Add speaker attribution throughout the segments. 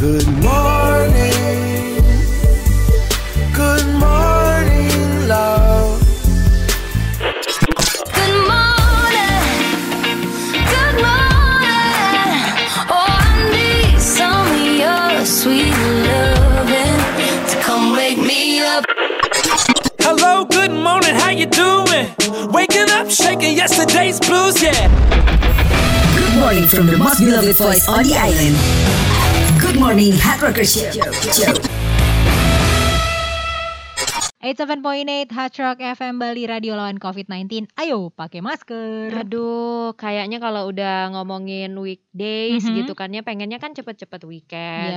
Speaker 1: Good morning. Good morning, love.
Speaker 2: Good morning. Good morning. Oh, I need some of your sweet loving to come wake me up.
Speaker 3: Hello, good morning, how you doing? Waking up, shaking yesterday's blues, yeah.
Speaker 4: Good morning from the most beloved voice on the island. Good morning, Hard Rocker Show. Show.
Speaker 5: 87.8 Hot Rock FM Bali Radio lawan COVID-19. Ayo pakai masker.
Speaker 6: Aduh, kayaknya kalau udah ngomongin weekdays
Speaker 5: Mhm.
Speaker 6: gitu kan ya pengennya kan cepet-cepet weekend.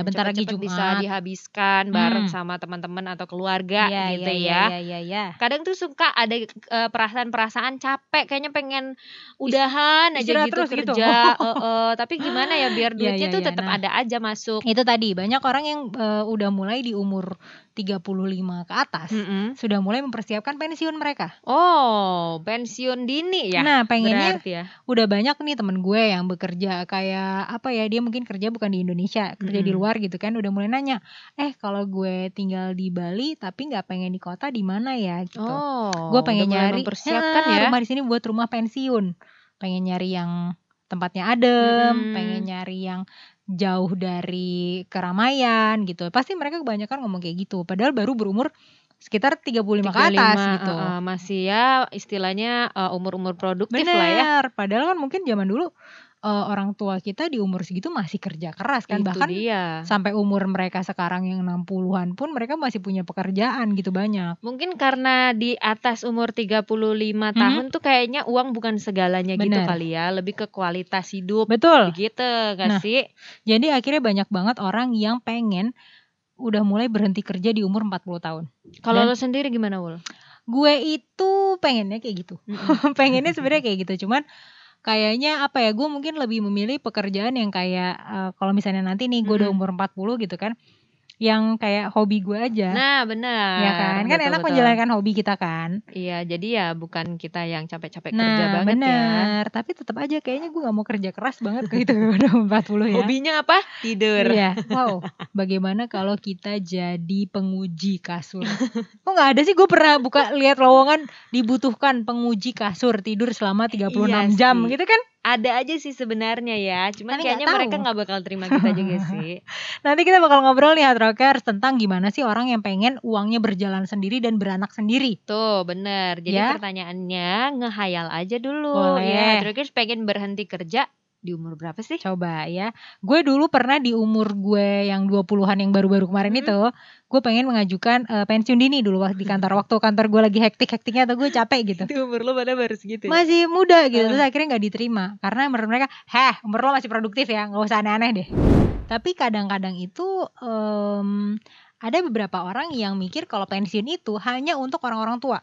Speaker 5: Iya, bentar lagi
Speaker 6: cepet-cepet bisa
Speaker 5: Jumat.
Speaker 6: dihabiskan bareng
Speaker 5: Hmm.
Speaker 6: sama teman-teman atau keluarga gitu
Speaker 5: iya, iya,
Speaker 6: ya.
Speaker 5: iya, iya.
Speaker 6: Kadang tuh suka ada eh, perasaan-perasaan capek, kayaknya pengen udahan aja
Speaker 5: istirahat
Speaker 6: gitu
Speaker 5: terus gitu.
Speaker 6: kerja. eh, eh, tapi gimana ya
Speaker 5: Iya,
Speaker 6: biar duitnya
Speaker 5: iya,
Speaker 6: tuh
Speaker 5: iya,
Speaker 6: tetap
Speaker 5: nah.
Speaker 6: ada aja masuk.
Speaker 5: Itu tadi banyak orang yang eh, udah mulai di umur 35 ke atas
Speaker 6: Mm-mm.
Speaker 5: sudah mulai mempersiapkan pensiun mereka.
Speaker 6: Oh, pensiun dini ya.
Speaker 5: nah, pengennya
Speaker 6: berarti ya.
Speaker 5: udah banyak nih temen gue yang bekerja kayak apa ya dia mungkin kerja bukan di Indonesia kerja di
Speaker 6: Mm-mm.
Speaker 5: luar gitu kan udah mulai nanya eh kalau gue tinggal di Bali tapi nggak pengen di kota di mana ya gitu
Speaker 6: Oh,
Speaker 5: gue pengen
Speaker 6: udah mulai
Speaker 5: nyari
Speaker 6: mempersiapkan
Speaker 5: "Ah,
Speaker 6: ya.
Speaker 5: rumah di sini buat rumah pensiun pengen nyari yang tempatnya adem
Speaker 6: Mm-mm.
Speaker 5: pengen nyari yang jauh dari keramaian gitu pasti mereka kebanyakan ngomong kayak gitu padahal baru berumur sekitar 35, ke atas
Speaker 6: 35,
Speaker 5: gitu
Speaker 6: eh, eh, masih ya istilahnya eh, umur-umur produktif lah ya.
Speaker 5: benar padahal kan mungkin zaman dulu eh, orang tua kita di umur segitu masih kerja keras kan
Speaker 6: Itu
Speaker 5: bahkan
Speaker 6: dia.
Speaker 5: sampai umur mereka sekarang yang 60-an pun mereka masih punya pekerjaan gitu banyak
Speaker 6: Mungkin karena di atas umur 35
Speaker 5: Mhm.
Speaker 6: tahun tuh kayaknya uang bukan segalanya gitu
Speaker 5: Benar.
Speaker 6: kali ya, lebih ke kualitas hidup.
Speaker 5: betul
Speaker 6: Begitu
Speaker 5: Nah,
Speaker 6: gak sih?
Speaker 5: Jadi akhirnya banyak banget orang yang pengen udah mulai berhenti kerja di umur 40 tahun. dan-
Speaker 6: Kalau lo sendiri gimana, Wul?
Speaker 5: Gue itu pengennya kayak gitu. pengennya sebenarnya kayak gitu, cuman kayaknya apa ya? Gue mungkin lebih memilih pekerjaan yang kayak eh, kalau misalnya nanti nih gue udah
Speaker 6: Mm-mm.
Speaker 5: umur 40 gitu kan, yang kayak hobi gue aja.
Speaker 6: Nah, benar.
Speaker 5: ya kan? Kan
Speaker 6: Betul,
Speaker 5: enak
Speaker 6: betul.
Speaker 5: menjalankan hobi kita kan.
Speaker 6: Iya, jadi ya bukan kita yang capek-capek kerja
Speaker 5: Nah,
Speaker 6: banget ya.
Speaker 5: benar. Tapi tetap aja kayaknya gue nggak mau kerja keras banget kayak gitu udah 40 ya.
Speaker 6: Hobinya apa? Tidur.
Speaker 5: Iya, wow. Bagaimana kalau kita jadi penguji kasur? Kok nggak ada sih? Gue pernah buka lihat lowongan dibutuhkan penguji kasur tidur selama 36
Speaker 6: Iya
Speaker 5: jam
Speaker 6: sih.
Speaker 5: gitu kan?
Speaker 6: Ada aja sih sebenarnya ya, cuman
Speaker 5: Tapi nggak
Speaker 6: kayaknya
Speaker 5: tahu.
Speaker 6: mereka nggak bakal terima kita juga sih.
Speaker 5: Nanti kita bakal ngobrol nih Hard Rockers tentang gimana sih orang yang pengen uangnya berjalan sendiri dan beranak sendiri.
Speaker 6: Tuh bener Jadi
Speaker 5: Ya.
Speaker 6: pertanyaannya ngehayal aja dulu
Speaker 5: Boleh.
Speaker 6: ya, Druggers pengen berhenti kerja di umur berapa sih?
Speaker 5: Coba ya. Gue dulu pernah di umur gue yang 20-an yang baru-baru kemarin
Speaker 6: Mm-mm.
Speaker 5: itu, gue pengen mengajukan eh, pensiun dini dulu waktu di kantor. Waktu kantor gue lagi hektik-hektiknya atau gue capek gitu.
Speaker 6: Itu umur lo pada baru segitu ya?
Speaker 5: masih muda gitu terus akhirnya nggak diterima karena menurut mereka heh umur lo masih produktif ya nggak usah aneh-aneh deh tapi kadang-kadang itu em, ada beberapa orang yang mikir kalau pensiun itu hanya untuk orang-orang tua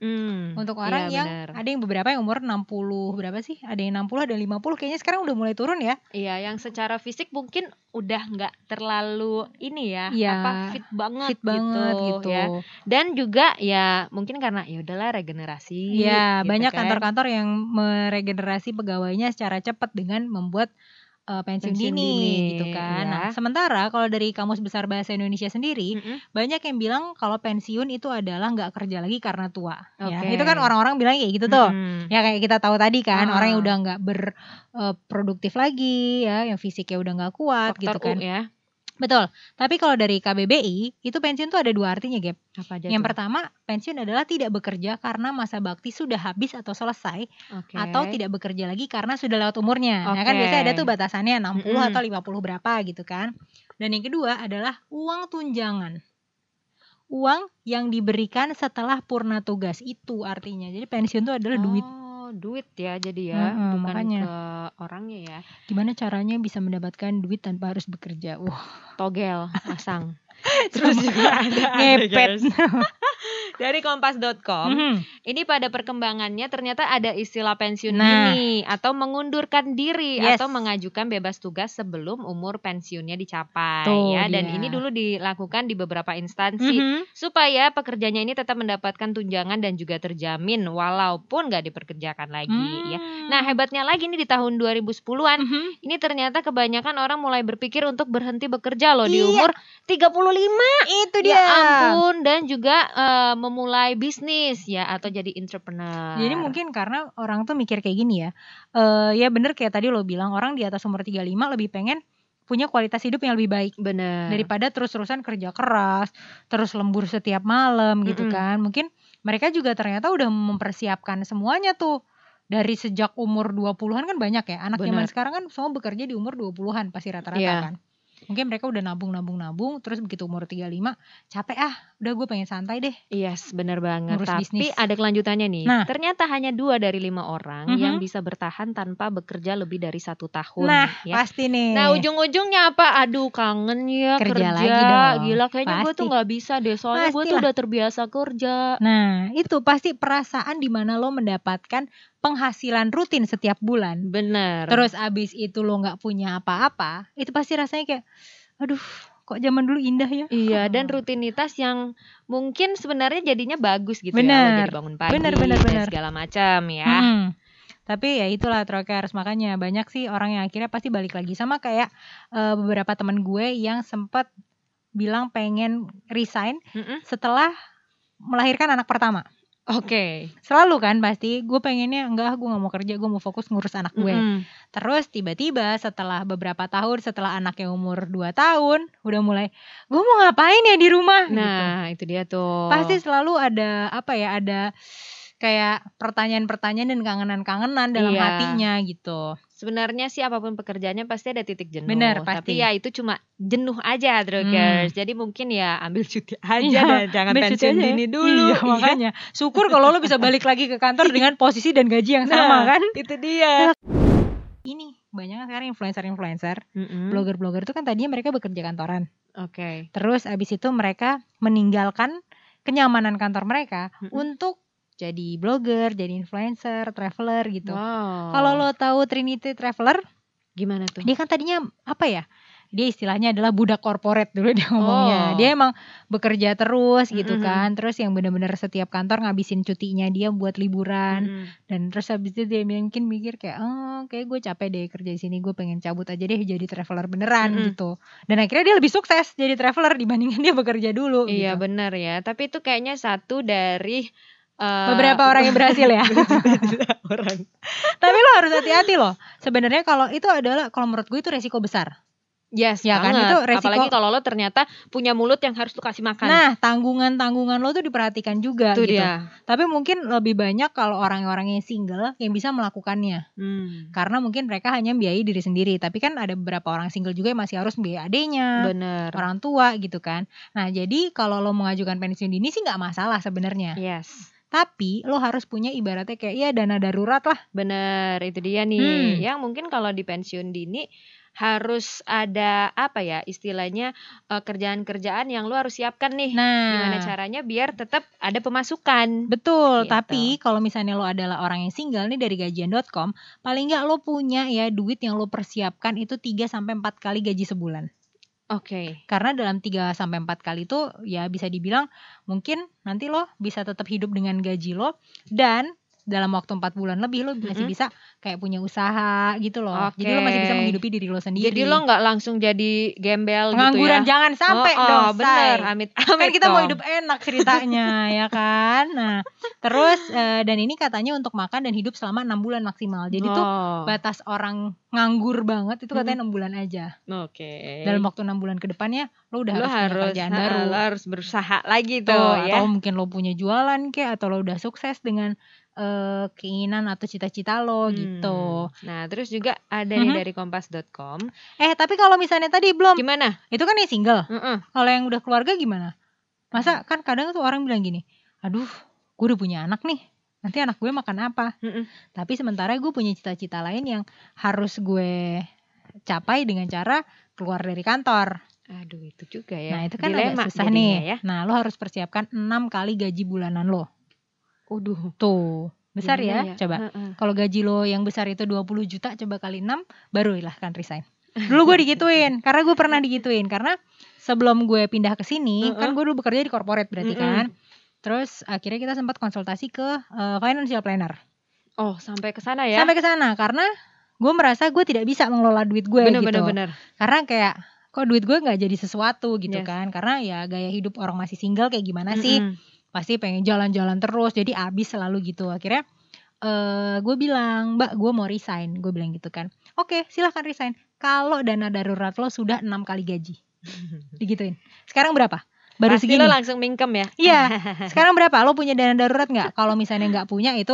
Speaker 6: Hmm,
Speaker 5: untuk orang
Speaker 6: iya,
Speaker 5: yang
Speaker 6: bener.
Speaker 5: ada yang beberapa yang umur 60 berapa sih ada yang 60 ada yang 50 kayaknya sekarang udah mulai turun ya
Speaker 6: Iya yang secara fisik mungkin udah nggak terlalu ini ya
Speaker 5: Iya,
Speaker 6: apa fit banget
Speaker 5: fit banget gitu,
Speaker 6: ya. Dan juga ya mungkin karena ya udahlah regenerasi
Speaker 5: Iya,
Speaker 6: gitu
Speaker 5: banyak
Speaker 6: kan.
Speaker 5: kantor-kantor yang meregenerasi pegawainya secara cepat dengan membuat eh, pensiun, dini,
Speaker 6: Pensiun dini,
Speaker 5: gitu kan.
Speaker 6: ya.
Speaker 5: Nah, sementara kalau dari Kamus Besar Bahasa Indonesia sendiri,
Speaker 6: Mm-mm.
Speaker 5: banyak yang bilang kalau pensiun itu adalah nggak kerja lagi karena tua. Ya,
Speaker 6: Oke.
Speaker 5: itu kan orang-orang bilang kayak gitu tuh.
Speaker 6: Mm-mm.
Speaker 5: Ya kayak kita tahu tadi kan, orang yang
Speaker 6: Ah.
Speaker 5: udah nggak berproduktif lagi, ya, yang fisiknya udah nggak kuat
Speaker 6: Faktor
Speaker 5: gitu kan.
Speaker 6: U ya.
Speaker 5: Betul. Tapi kalau dari KBBI itu pensiun tuh ada dua artinya, Gap.
Speaker 6: Apa aja
Speaker 5: Yang
Speaker 6: tuh?
Speaker 5: pertama, pensiun adalah tidak bekerja karena masa bakti sudah habis atau selesai
Speaker 6: Oke.
Speaker 5: atau tidak bekerja lagi karena sudah lewat umurnya. Nah, kan
Speaker 6: Oke.
Speaker 5: biasanya ada tuh batasannya 60
Speaker 6: Mm-mm.
Speaker 5: atau 50 berapa gitu kan. Dan yang kedua adalah uang tunjangan. Uang yang diberikan setelah purna tugas itu artinya. Jadi pensiun itu adalah duit.
Speaker 6: Oh, duit ya jadi ya,
Speaker 5: Mm-mm,
Speaker 6: bukan
Speaker 5: makanya.
Speaker 6: ke orangnya ya.
Speaker 5: Gimana caranya bisa mendapatkan duit tanpa harus bekerja? Wah,
Speaker 6: Togel, masang.
Speaker 5: Terus juga
Speaker 6: ada
Speaker 5: ngepet.
Speaker 6: dari kompas.com
Speaker 5: Mhm.
Speaker 6: Ini pada perkembangannya ternyata ada istilah pensiun
Speaker 5: Nah.
Speaker 6: dini atau mengundurkan diri
Speaker 5: Yes.
Speaker 6: atau mengajukan bebas tugas sebelum umur pensiunnya dicapai
Speaker 5: Tuh
Speaker 6: ya dan
Speaker 5: dia.
Speaker 6: ini dulu dilakukan di beberapa instansi
Speaker 5: Mhm.
Speaker 6: supaya pekerjanya ini tetap mendapatkan tunjangan dan juga terjamin walaupun nggak diperkerjakan lagi
Speaker 5: Mm-hmm. Hmm.
Speaker 6: ya. Nah, hebatnya lagi nih di tahun 2010-an
Speaker 5: Mhm.
Speaker 6: ini ternyata kebanyakan orang mulai berpikir untuk berhenti bekerja loh di
Speaker 5: Iya.
Speaker 6: umur 35
Speaker 5: itu dia.
Speaker 6: Ya ampun dan juga eh, memulai bisnis ya atau jadi entrepreneur.
Speaker 5: Jadi mungkin karena orang tuh mikir kayak gini ya. Eh ya bener kayak tadi lo bilang orang di atas umur 35 lebih pengen punya kualitas hidup yang lebih baik
Speaker 6: benar.
Speaker 5: daripada terus-terusan kerja keras, terus lembur setiap malam gitu
Speaker 6: Mm-mm.
Speaker 5: kan. Mungkin mereka juga ternyata udah mempersiapkan semuanya tuh. Dari sejak umur 20-an kan banyak ya. Anak zaman
Speaker 6: Benar.
Speaker 5: sekarang kan semua bekerja di umur 20-an pasti rata-rata
Speaker 6: Iya.
Speaker 5: kan. Mungkin mereka udah nabung-nabung-nabung terus begitu umur 35 capek ah, udah gue pengen santai deh.
Speaker 6: Yes, benar Iya, banget.
Speaker 5: Ngurus
Speaker 6: Tapi
Speaker 5: bisnis.
Speaker 6: ada kelanjutannya nih.
Speaker 5: Nah.
Speaker 6: Ternyata hanya dua dari lima orang
Speaker 5: Mhm.
Speaker 6: yang bisa bertahan tanpa bekerja lebih dari satu tahun.
Speaker 5: nah,
Speaker 6: ya.
Speaker 5: pasti nih.
Speaker 6: Nah ujung-ujungnya apa? Aduh kangen ya
Speaker 5: Kerja
Speaker 6: kerja,
Speaker 5: lagi dong.
Speaker 6: Gila kayaknya gue
Speaker 5: Pasti.
Speaker 6: tuh nggak bisa deh Soalnya gue tuh
Speaker 5: Pastilah.
Speaker 6: udah terbiasa kerja
Speaker 5: Nah, itu pasti perasaan dimana lo mendapatkan penghasilan rutin setiap bulan.
Speaker 6: Bener
Speaker 5: Terus abis itu lo nggak punya apa-apa, itu pasti rasanya kayak, aduh, kok zaman dulu indah ya.
Speaker 6: Iya dan rutinitas yang mungkin sebenarnya jadinya bagus gitu ya lo
Speaker 5: Benar.
Speaker 6: Jadi bangun pagi
Speaker 5: Benar, benar,
Speaker 6: dan
Speaker 5: benar.
Speaker 6: segala macam ya
Speaker 5: Mm-mm. Hmm. Tapi ya itulah trokers makanya banyak sih orang yang akhirnya pasti balik lagi sama kayak eh, beberapa teman gue yang sempat bilang pengen resign
Speaker 6: Mm-mm.
Speaker 5: setelah melahirkan anak pertama.
Speaker 6: Oke.
Speaker 5: Selalu kan pasti gue pengennya enggak gue nggak mau kerja gue mau fokus ngurus anak gue.
Speaker 6: Mm-mm.
Speaker 5: Terus tiba-tiba setelah beberapa tahun setelah anaknya umur 2 tahun udah mulai gue mau ngapain ya di rumah gitu.
Speaker 6: Nah, itu dia tuh.
Speaker 5: Pasti selalu ada apa ya ada kayak pertanyaan-pertanyaan dan kangenan-kangenan dalam
Speaker 6: Iya.
Speaker 5: hatinya gitu.
Speaker 6: sebenarnya sih apapun pekerjaannya pasti ada titik jenuh.
Speaker 5: Benar,
Speaker 6: Tapi
Speaker 5: pasti. Mm.
Speaker 6: ya itu cuma jenuh aja, Drogers. Jadi mungkin ya ambil cuti aja
Speaker 5: Iya,
Speaker 6: dan jangan
Speaker 5: ambil cuti aja
Speaker 6: pensiun
Speaker 5: ya.
Speaker 6: dini dulu.
Speaker 5: Iya, makanya. Syukur kalau lo bisa balik lagi ke kantor dengan posisi dan gaji yang
Speaker 6: Nah.
Speaker 5: sama kan.
Speaker 6: Itu dia.
Speaker 5: Ini banyak kan sekarang influencer-influencer,
Speaker 6: Mm-mm.
Speaker 5: blogger-blogger itu kan tadinya mereka bekerja kantoran.
Speaker 6: Oke.
Speaker 5: Terus abis itu mereka meninggalkan kenyamanan kantor mereka
Speaker 6: Mm-mm.
Speaker 5: untuk jadi blogger, jadi influencer, traveler gitu.
Speaker 6: Wow.
Speaker 5: Kalau lo tahu Trinity Traveler,
Speaker 6: gimana tuh?
Speaker 5: dia kan tadinya apa ya? Dia istilahnya adalah budak korporat dulu dia ngomongnya.
Speaker 6: Oh.
Speaker 5: Dia emang bekerja terus gitu
Speaker 6: Mm-mm.
Speaker 5: kan. Terus yang benar-benar setiap kantor ngabisin cutinya dia buat liburan.
Speaker 6: Mm-mm.
Speaker 5: Dan terus habis itu dia mungkin mikir kayak, "Oh, kayak gue capek deh kerja di sini. Gue pengen cabut aja deh jadi traveler beneran
Speaker 6: Mm-mm.
Speaker 5: gitu." Dan akhirnya dia lebih sukses jadi traveler dibandingkan dia bekerja dulu
Speaker 6: Iya
Speaker 5: gitu.
Speaker 6: benar ya. Tapi itu kayaknya satu dari eh,
Speaker 5: Beberapa orang yang berhasil ya.
Speaker 6: beberapa orang.
Speaker 5: Tapi lo harus hati-hati loh. Sebenarnya kalau itu adalah kalau menurut gue itu resiko besar.
Speaker 6: Yes,
Speaker 5: Ya kan,
Speaker 6: banget.
Speaker 5: itu resiko-
Speaker 6: Apalagi kalau lo ternyata punya mulut yang harus lo kasih makan.
Speaker 5: Nah, tanggungan-tanggungan lo tuh diperhatikan juga
Speaker 6: itu
Speaker 5: gitu.
Speaker 6: dia.
Speaker 5: Tapi mungkin lebih banyak kalau orang-orang yang single yang bisa melakukannya.
Speaker 6: Hmm.
Speaker 5: Karena mungkin mereka hanya biayai diri sendiri. Tapi kan ada beberapa orang single juga yang masih harus biayai adenya,
Speaker 6: Bener.
Speaker 5: Nah, orang tua gitu kan. Nah, jadi kalau lo mengajukan pensiun dini sih nggak masalah sebenarnya.
Speaker 6: Yes.
Speaker 5: Tapi lo harus punya ibaratnya kayak ya dana darurat lah.
Speaker 6: Bener, itu dia
Speaker 5: Hmm.
Speaker 6: nih. Yang mungkin kalau di pensiun dini harus ada apa ya istilahnya eh, kerjaan-kerjaan yang lu harus siapkan nih.
Speaker 5: Nah,
Speaker 6: Iya, Gimana caranya biar tetap ada pemasukan?
Speaker 5: Betul,
Speaker 6: Gitu.
Speaker 5: tapi kalau misalnya lo adalah orang yang single nih dari gajian.com, paling nggak lo punya ya duit yang lo persiapkan itu 3 sampai 4 kali gaji sebulan.
Speaker 6: Oke.
Speaker 5: Karena dalam 3 sampai 4 kali itu ya bisa dibilang mungkin nanti lo bisa tetap hidup dengan gaji lo dan dalam waktu 4 bulan lebih lo masih
Speaker 6: Mm-mm.
Speaker 5: bisa kayak punya usaha gitu loh. Jadi lo masih bisa
Speaker 6: Oke.
Speaker 5: menghidupi diri lo sendiri.
Speaker 6: Jadi lo nggak langsung jadi gembel gitu
Speaker 5: pengangguran
Speaker 6: ya?
Speaker 5: jangan sampai
Speaker 6: oh,
Speaker 5: dong,
Speaker 6: oh, bener,
Speaker 5: Shay
Speaker 6: amit,
Speaker 5: kan
Speaker 6: amit
Speaker 5: kita mau
Speaker 6: dong.
Speaker 5: hidup enak ceritanya ya kan nah terus eh, dan ini katanya untuk makan dan hidup selama enam bulan maksimal jadi tuh
Speaker 6: Oh,
Speaker 5: batas orang nganggur banget itu katanya enam bulan aja
Speaker 6: oke.
Speaker 5: dalam waktu enam bulan ke depannya lo udah
Speaker 6: lo
Speaker 5: harus, punya
Speaker 6: harus,
Speaker 5: kerjaan
Speaker 6: ha,
Speaker 5: baru
Speaker 6: lo harus berusaha lagi
Speaker 5: Tuh,
Speaker 6: tuh, ya.
Speaker 5: Oh, atau mungkin lo punya jualan kek atau lo udah sukses dengan eh, keinginan atau cita-cita lo
Speaker 6: Hmm.
Speaker 5: gitu
Speaker 6: Nah, terus juga ada nih
Speaker 5: Mhm.
Speaker 6: dari kompas.com.
Speaker 5: eh tapi kalau misalnya tadi belum
Speaker 6: Gimana?
Speaker 5: itu kan yang single
Speaker 6: Mm-mm.
Speaker 5: kalau yang udah keluarga gimana?
Speaker 6: Hmm.
Speaker 5: Masa kan kadang tuh orang bilang gini, aduh gue udah punya anak nih, nanti anak gue makan apa?
Speaker 6: Mm-mm.
Speaker 5: Tapi sementara gue punya cita-cita lain yang harus gue capai dengan cara keluar dari kantor.
Speaker 6: Aduh itu juga ya.
Speaker 5: Nah itu kan
Speaker 6: Dilema
Speaker 5: agak susah
Speaker 6: jadinya
Speaker 5: nih.
Speaker 6: Ya.
Speaker 5: Nah lo harus persiapkan 6 kali gaji bulanan lo.
Speaker 6: Waduh.
Speaker 5: Tuh besar ya,
Speaker 6: gimana
Speaker 5: coba.
Speaker 6: Heeh.
Speaker 5: Kalau gaji lo yang besar itu 20 juta coba kali 6 baru kan resign. Dulu gue digituin karena gue pernah digituin karena sebelum gue pindah ke sini kan gue dulu bekerja di corporate berarti
Speaker 6: Mm-mm.
Speaker 5: kan. Terus akhirnya kita sempat konsultasi ke eh, financial planner.
Speaker 6: Oh sampai ke sana ya.
Speaker 5: Sampai ke sana karena gue merasa gue tidak bisa mengelola duit gue
Speaker 6: bener
Speaker 5: gitu.
Speaker 6: bener bener.
Speaker 5: Karena kayak kok duit gue nggak jadi sesuatu gitu
Speaker 6: Yes.
Speaker 5: kan karena ya gaya hidup orang masih single kayak gimana sih
Speaker 6: Mm-mm.
Speaker 5: pasti pengen jalan-jalan terus jadi abis selalu gitu akhirnya eh gue bilang mbak gue mau resign gue bilang gitu kan oke silahkan resign kalau dana darurat lo sudah enam kali gaji digituin sekarang berapa baru
Speaker 6: Pasti
Speaker 5: segini
Speaker 6: lo langsung mingkem ya.
Speaker 5: iya sekarang berapa lo punya dana darurat nggak kalau misalnya nggak punya itu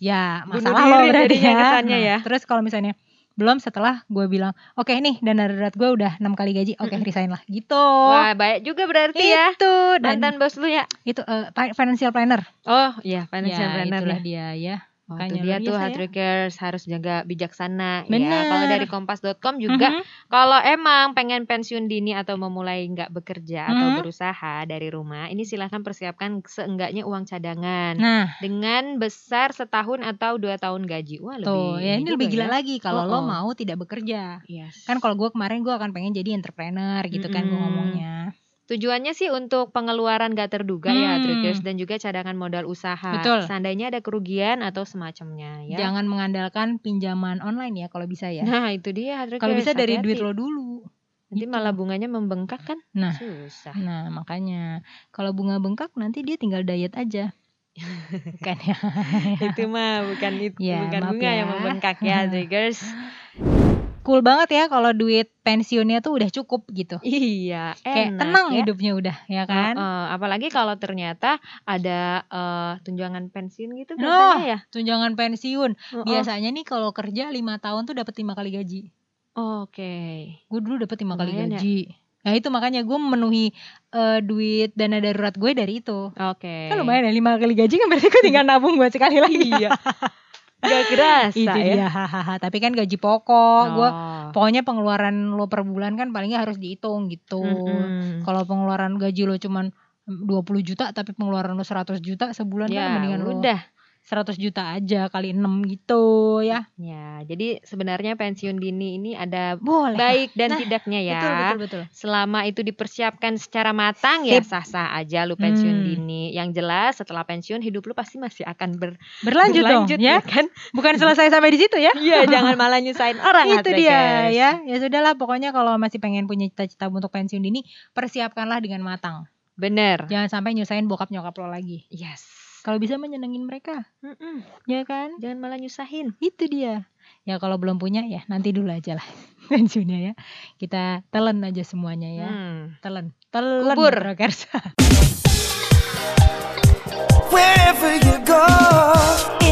Speaker 5: ya
Speaker 6: Bunuh
Speaker 5: masalah
Speaker 6: diri
Speaker 5: lo berarti
Speaker 6: jadinya
Speaker 5: ya.
Speaker 6: kesannya ya.
Speaker 5: Nah, terus kalau misalnya belum setelah gue bilang oke nih dana darurat gue udah enam kali gaji oke resign lah gitu
Speaker 6: Mm. Wah baik juga berarti ya.
Speaker 5: itu dan
Speaker 6: Mantan bos lu ya.
Speaker 5: itu eh, fi- financial planner
Speaker 6: Oh iya financial
Speaker 5: ya,
Speaker 6: planner
Speaker 5: itulah
Speaker 6: ya.
Speaker 5: dia ya.
Speaker 6: Oh,
Speaker 5: Makanya
Speaker 6: itu dia
Speaker 5: luar
Speaker 6: tuh
Speaker 5: biasa
Speaker 6: hard
Speaker 5: ya.
Speaker 6: workers harus jaga bijaksana ya.
Speaker 5: Bener.
Speaker 6: Kalau dari kompas.com juga
Speaker 5: Mhm.
Speaker 6: Kalau emang pengen pensiun dini atau memulai nggak bekerja atau
Speaker 5: Mhm.
Speaker 6: berusaha dari rumah, ini silahkan persiapkan seenggaknya uang cadangan
Speaker 5: Nah,
Speaker 6: dengan besar setahun atau dua tahun gaji. Wah lebih
Speaker 5: tuh ya ini
Speaker 6: juga
Speaker 5: lebih gila
Speaker 6: ya.
Speaker 5: lagi kalau lo
Speaker 6: Oh, oh.
Speaker 5: mau tidak bekerja.
Speaker 6: Yes.
Speaker 5: Kan kalau gue kemarin gue akan pengen jadi entrepreneur gitu kan gue
Speaker 6: Mm-mm.
Speaker 5: ngomongnya.
Speaker 6: Tujuannya sih untuk pengeluaran gak terduga
Speaker 5: Hmm.
Speaker 6: ya, Trikers dan juga cadangan modal usaha.
Speaker 5: Betul.
Speaker 6: Seandainya ada kerugian atau semacamnya ya.
Speaker 5: Jangan mengandalkan pinjaman online ya kalau bisa ya.
Speaker 6: Nah itu dia Trikers.
Speaker 5: kalau bisa dari duit lo
Speaker 6: hati-hati.
Speaker 5: dulu.
Speaker 6: Nanti
Speaker 5: gitu.
Speaker 6: malah bunganya membengkak kan?
Speaker 5: Nah.
Speaker 6: Susah.
Speaker 5: Nah, makanya kalau bunga bengkak nanti dia tinggal diet aja. Bukan ya.
Speaker 6: itu mah bukan itu
Speaker 5: Ya,
Speaker 6: bukan
Speaker 5: maaf
Speaker 6: bunga
Speaker 5: ya.
Speaker 6: yang membengkak ya, Trikers.
Speaker 5: Cool banget ya kalau duit pensiunnya tuh udah cukup gitu.
Speaker 6: Iya,
Speaker 5: Kayak
Speaker 6: enak
Speaker 5: tenang
Speaker 6: ya.
Speaker 5: hidupnya udah, ya kan?
Speaker 6: Heeh, apalagi kalau ternyata ada eh, tunjangan pensiun gitu
Speaker 5: Noh,
Speaker 6: biasanya ya.
Speaker 5: tunjangan pensiun.
Speaker 6: Oh,
Speaker 5: Biasanya nih kalau kerja lima tahun tuh dapat lima kali gaji.
Speaker 6: oh, Oke.
Speaker 5: Gue dulu dapat lima kali
Speaker 6: Lumayan ya.
Speaker 5: gaji. Nah itu makanya gue memenuhi eh, duit dana darurat gue dari itu.
Speaker 6: Oke.
Speaker 5: Kan lumayan ya lima kali gaji kan berarti gue tinggal nabung buat sekali lagi.
Speaker 6: Iya. Gak kerasa
Speaker 5: itu
Speaker 6: ya.
Speaker 5: dia. hahaha. Tapi kan gaji pokok gue.
Speaker 6: Oh.
Speaker 5: Pokoknya pengeluaran lo per bulan kan palingnya harus dihitung gitu.
Speaker 6: Oh. Mm-mm.
Speaker 5: Kalau pengeluaran gaji lo cuman 20 juta tapi pengeluaran lo 100 juta sebulan
Speaker 6: ya,
Speaker 5: kan mendingan lo
Speaker 6: udah.
Speaker 5: 100 juta aja kali 6 gitu ya.
Speaker 6: Ya, jadi sebenarnya pensiun dini ini ada
Speaker 5: Boleh.
Speaker 6: baik dan
Speaker 5: Nah,
Speaker 6: tidaknya ya.
Speaker 5: Betul betul betul.
Speaker 6: Selama itu dipersiapkan secara matang ya
Speaker 5: Sip.
Speaker 6: sah-sah aja lu pensiun
Speaker 5: Hmm.
Speaker 6: dini. Yang jelas setelah pensiun hidup lu pasti masih akan ber
Speaker 5: Berlanjut,
Speaker 6: berlanjut,
Speaker 5: dong ya.
Speaker 6: kan?
Speaker 5: Bukan selesai sampai di situ ya.
Speaker 6: Iya, jangan malah nyusahin orang
Speaker 5: itu dia
Speaker 6: Hatrekers.
Speaker 5: ya. Ya sudahlah pokoknya kalau masih pengen punya cita-cita untuk pensiun dini, persiapkanlah dengan matang.
Speaker 6: Bener.
Speaker 5: Jangan sampai nyusahin bokap nyokap lo lagi.
Speaker 6: Yes.
Speaker 5: Kalau bisa menyenengin mereka,
Speaker 6: Mm-mm.
Speaker 5: ya kan?
Speaker 6: Jangan malah nyusahin.
Speaker 5: Itu dia. Ya kalau belum punya ya nanti dulu aja lah pensiunnya ya. Kita telan aja semuanya ya.
Speaker 6: Hmm.
Speaker 5: Telan. Telan
Speaker 6: Kubur.
Speaker 5: Rockers.
Speaker 1: Wherever you go,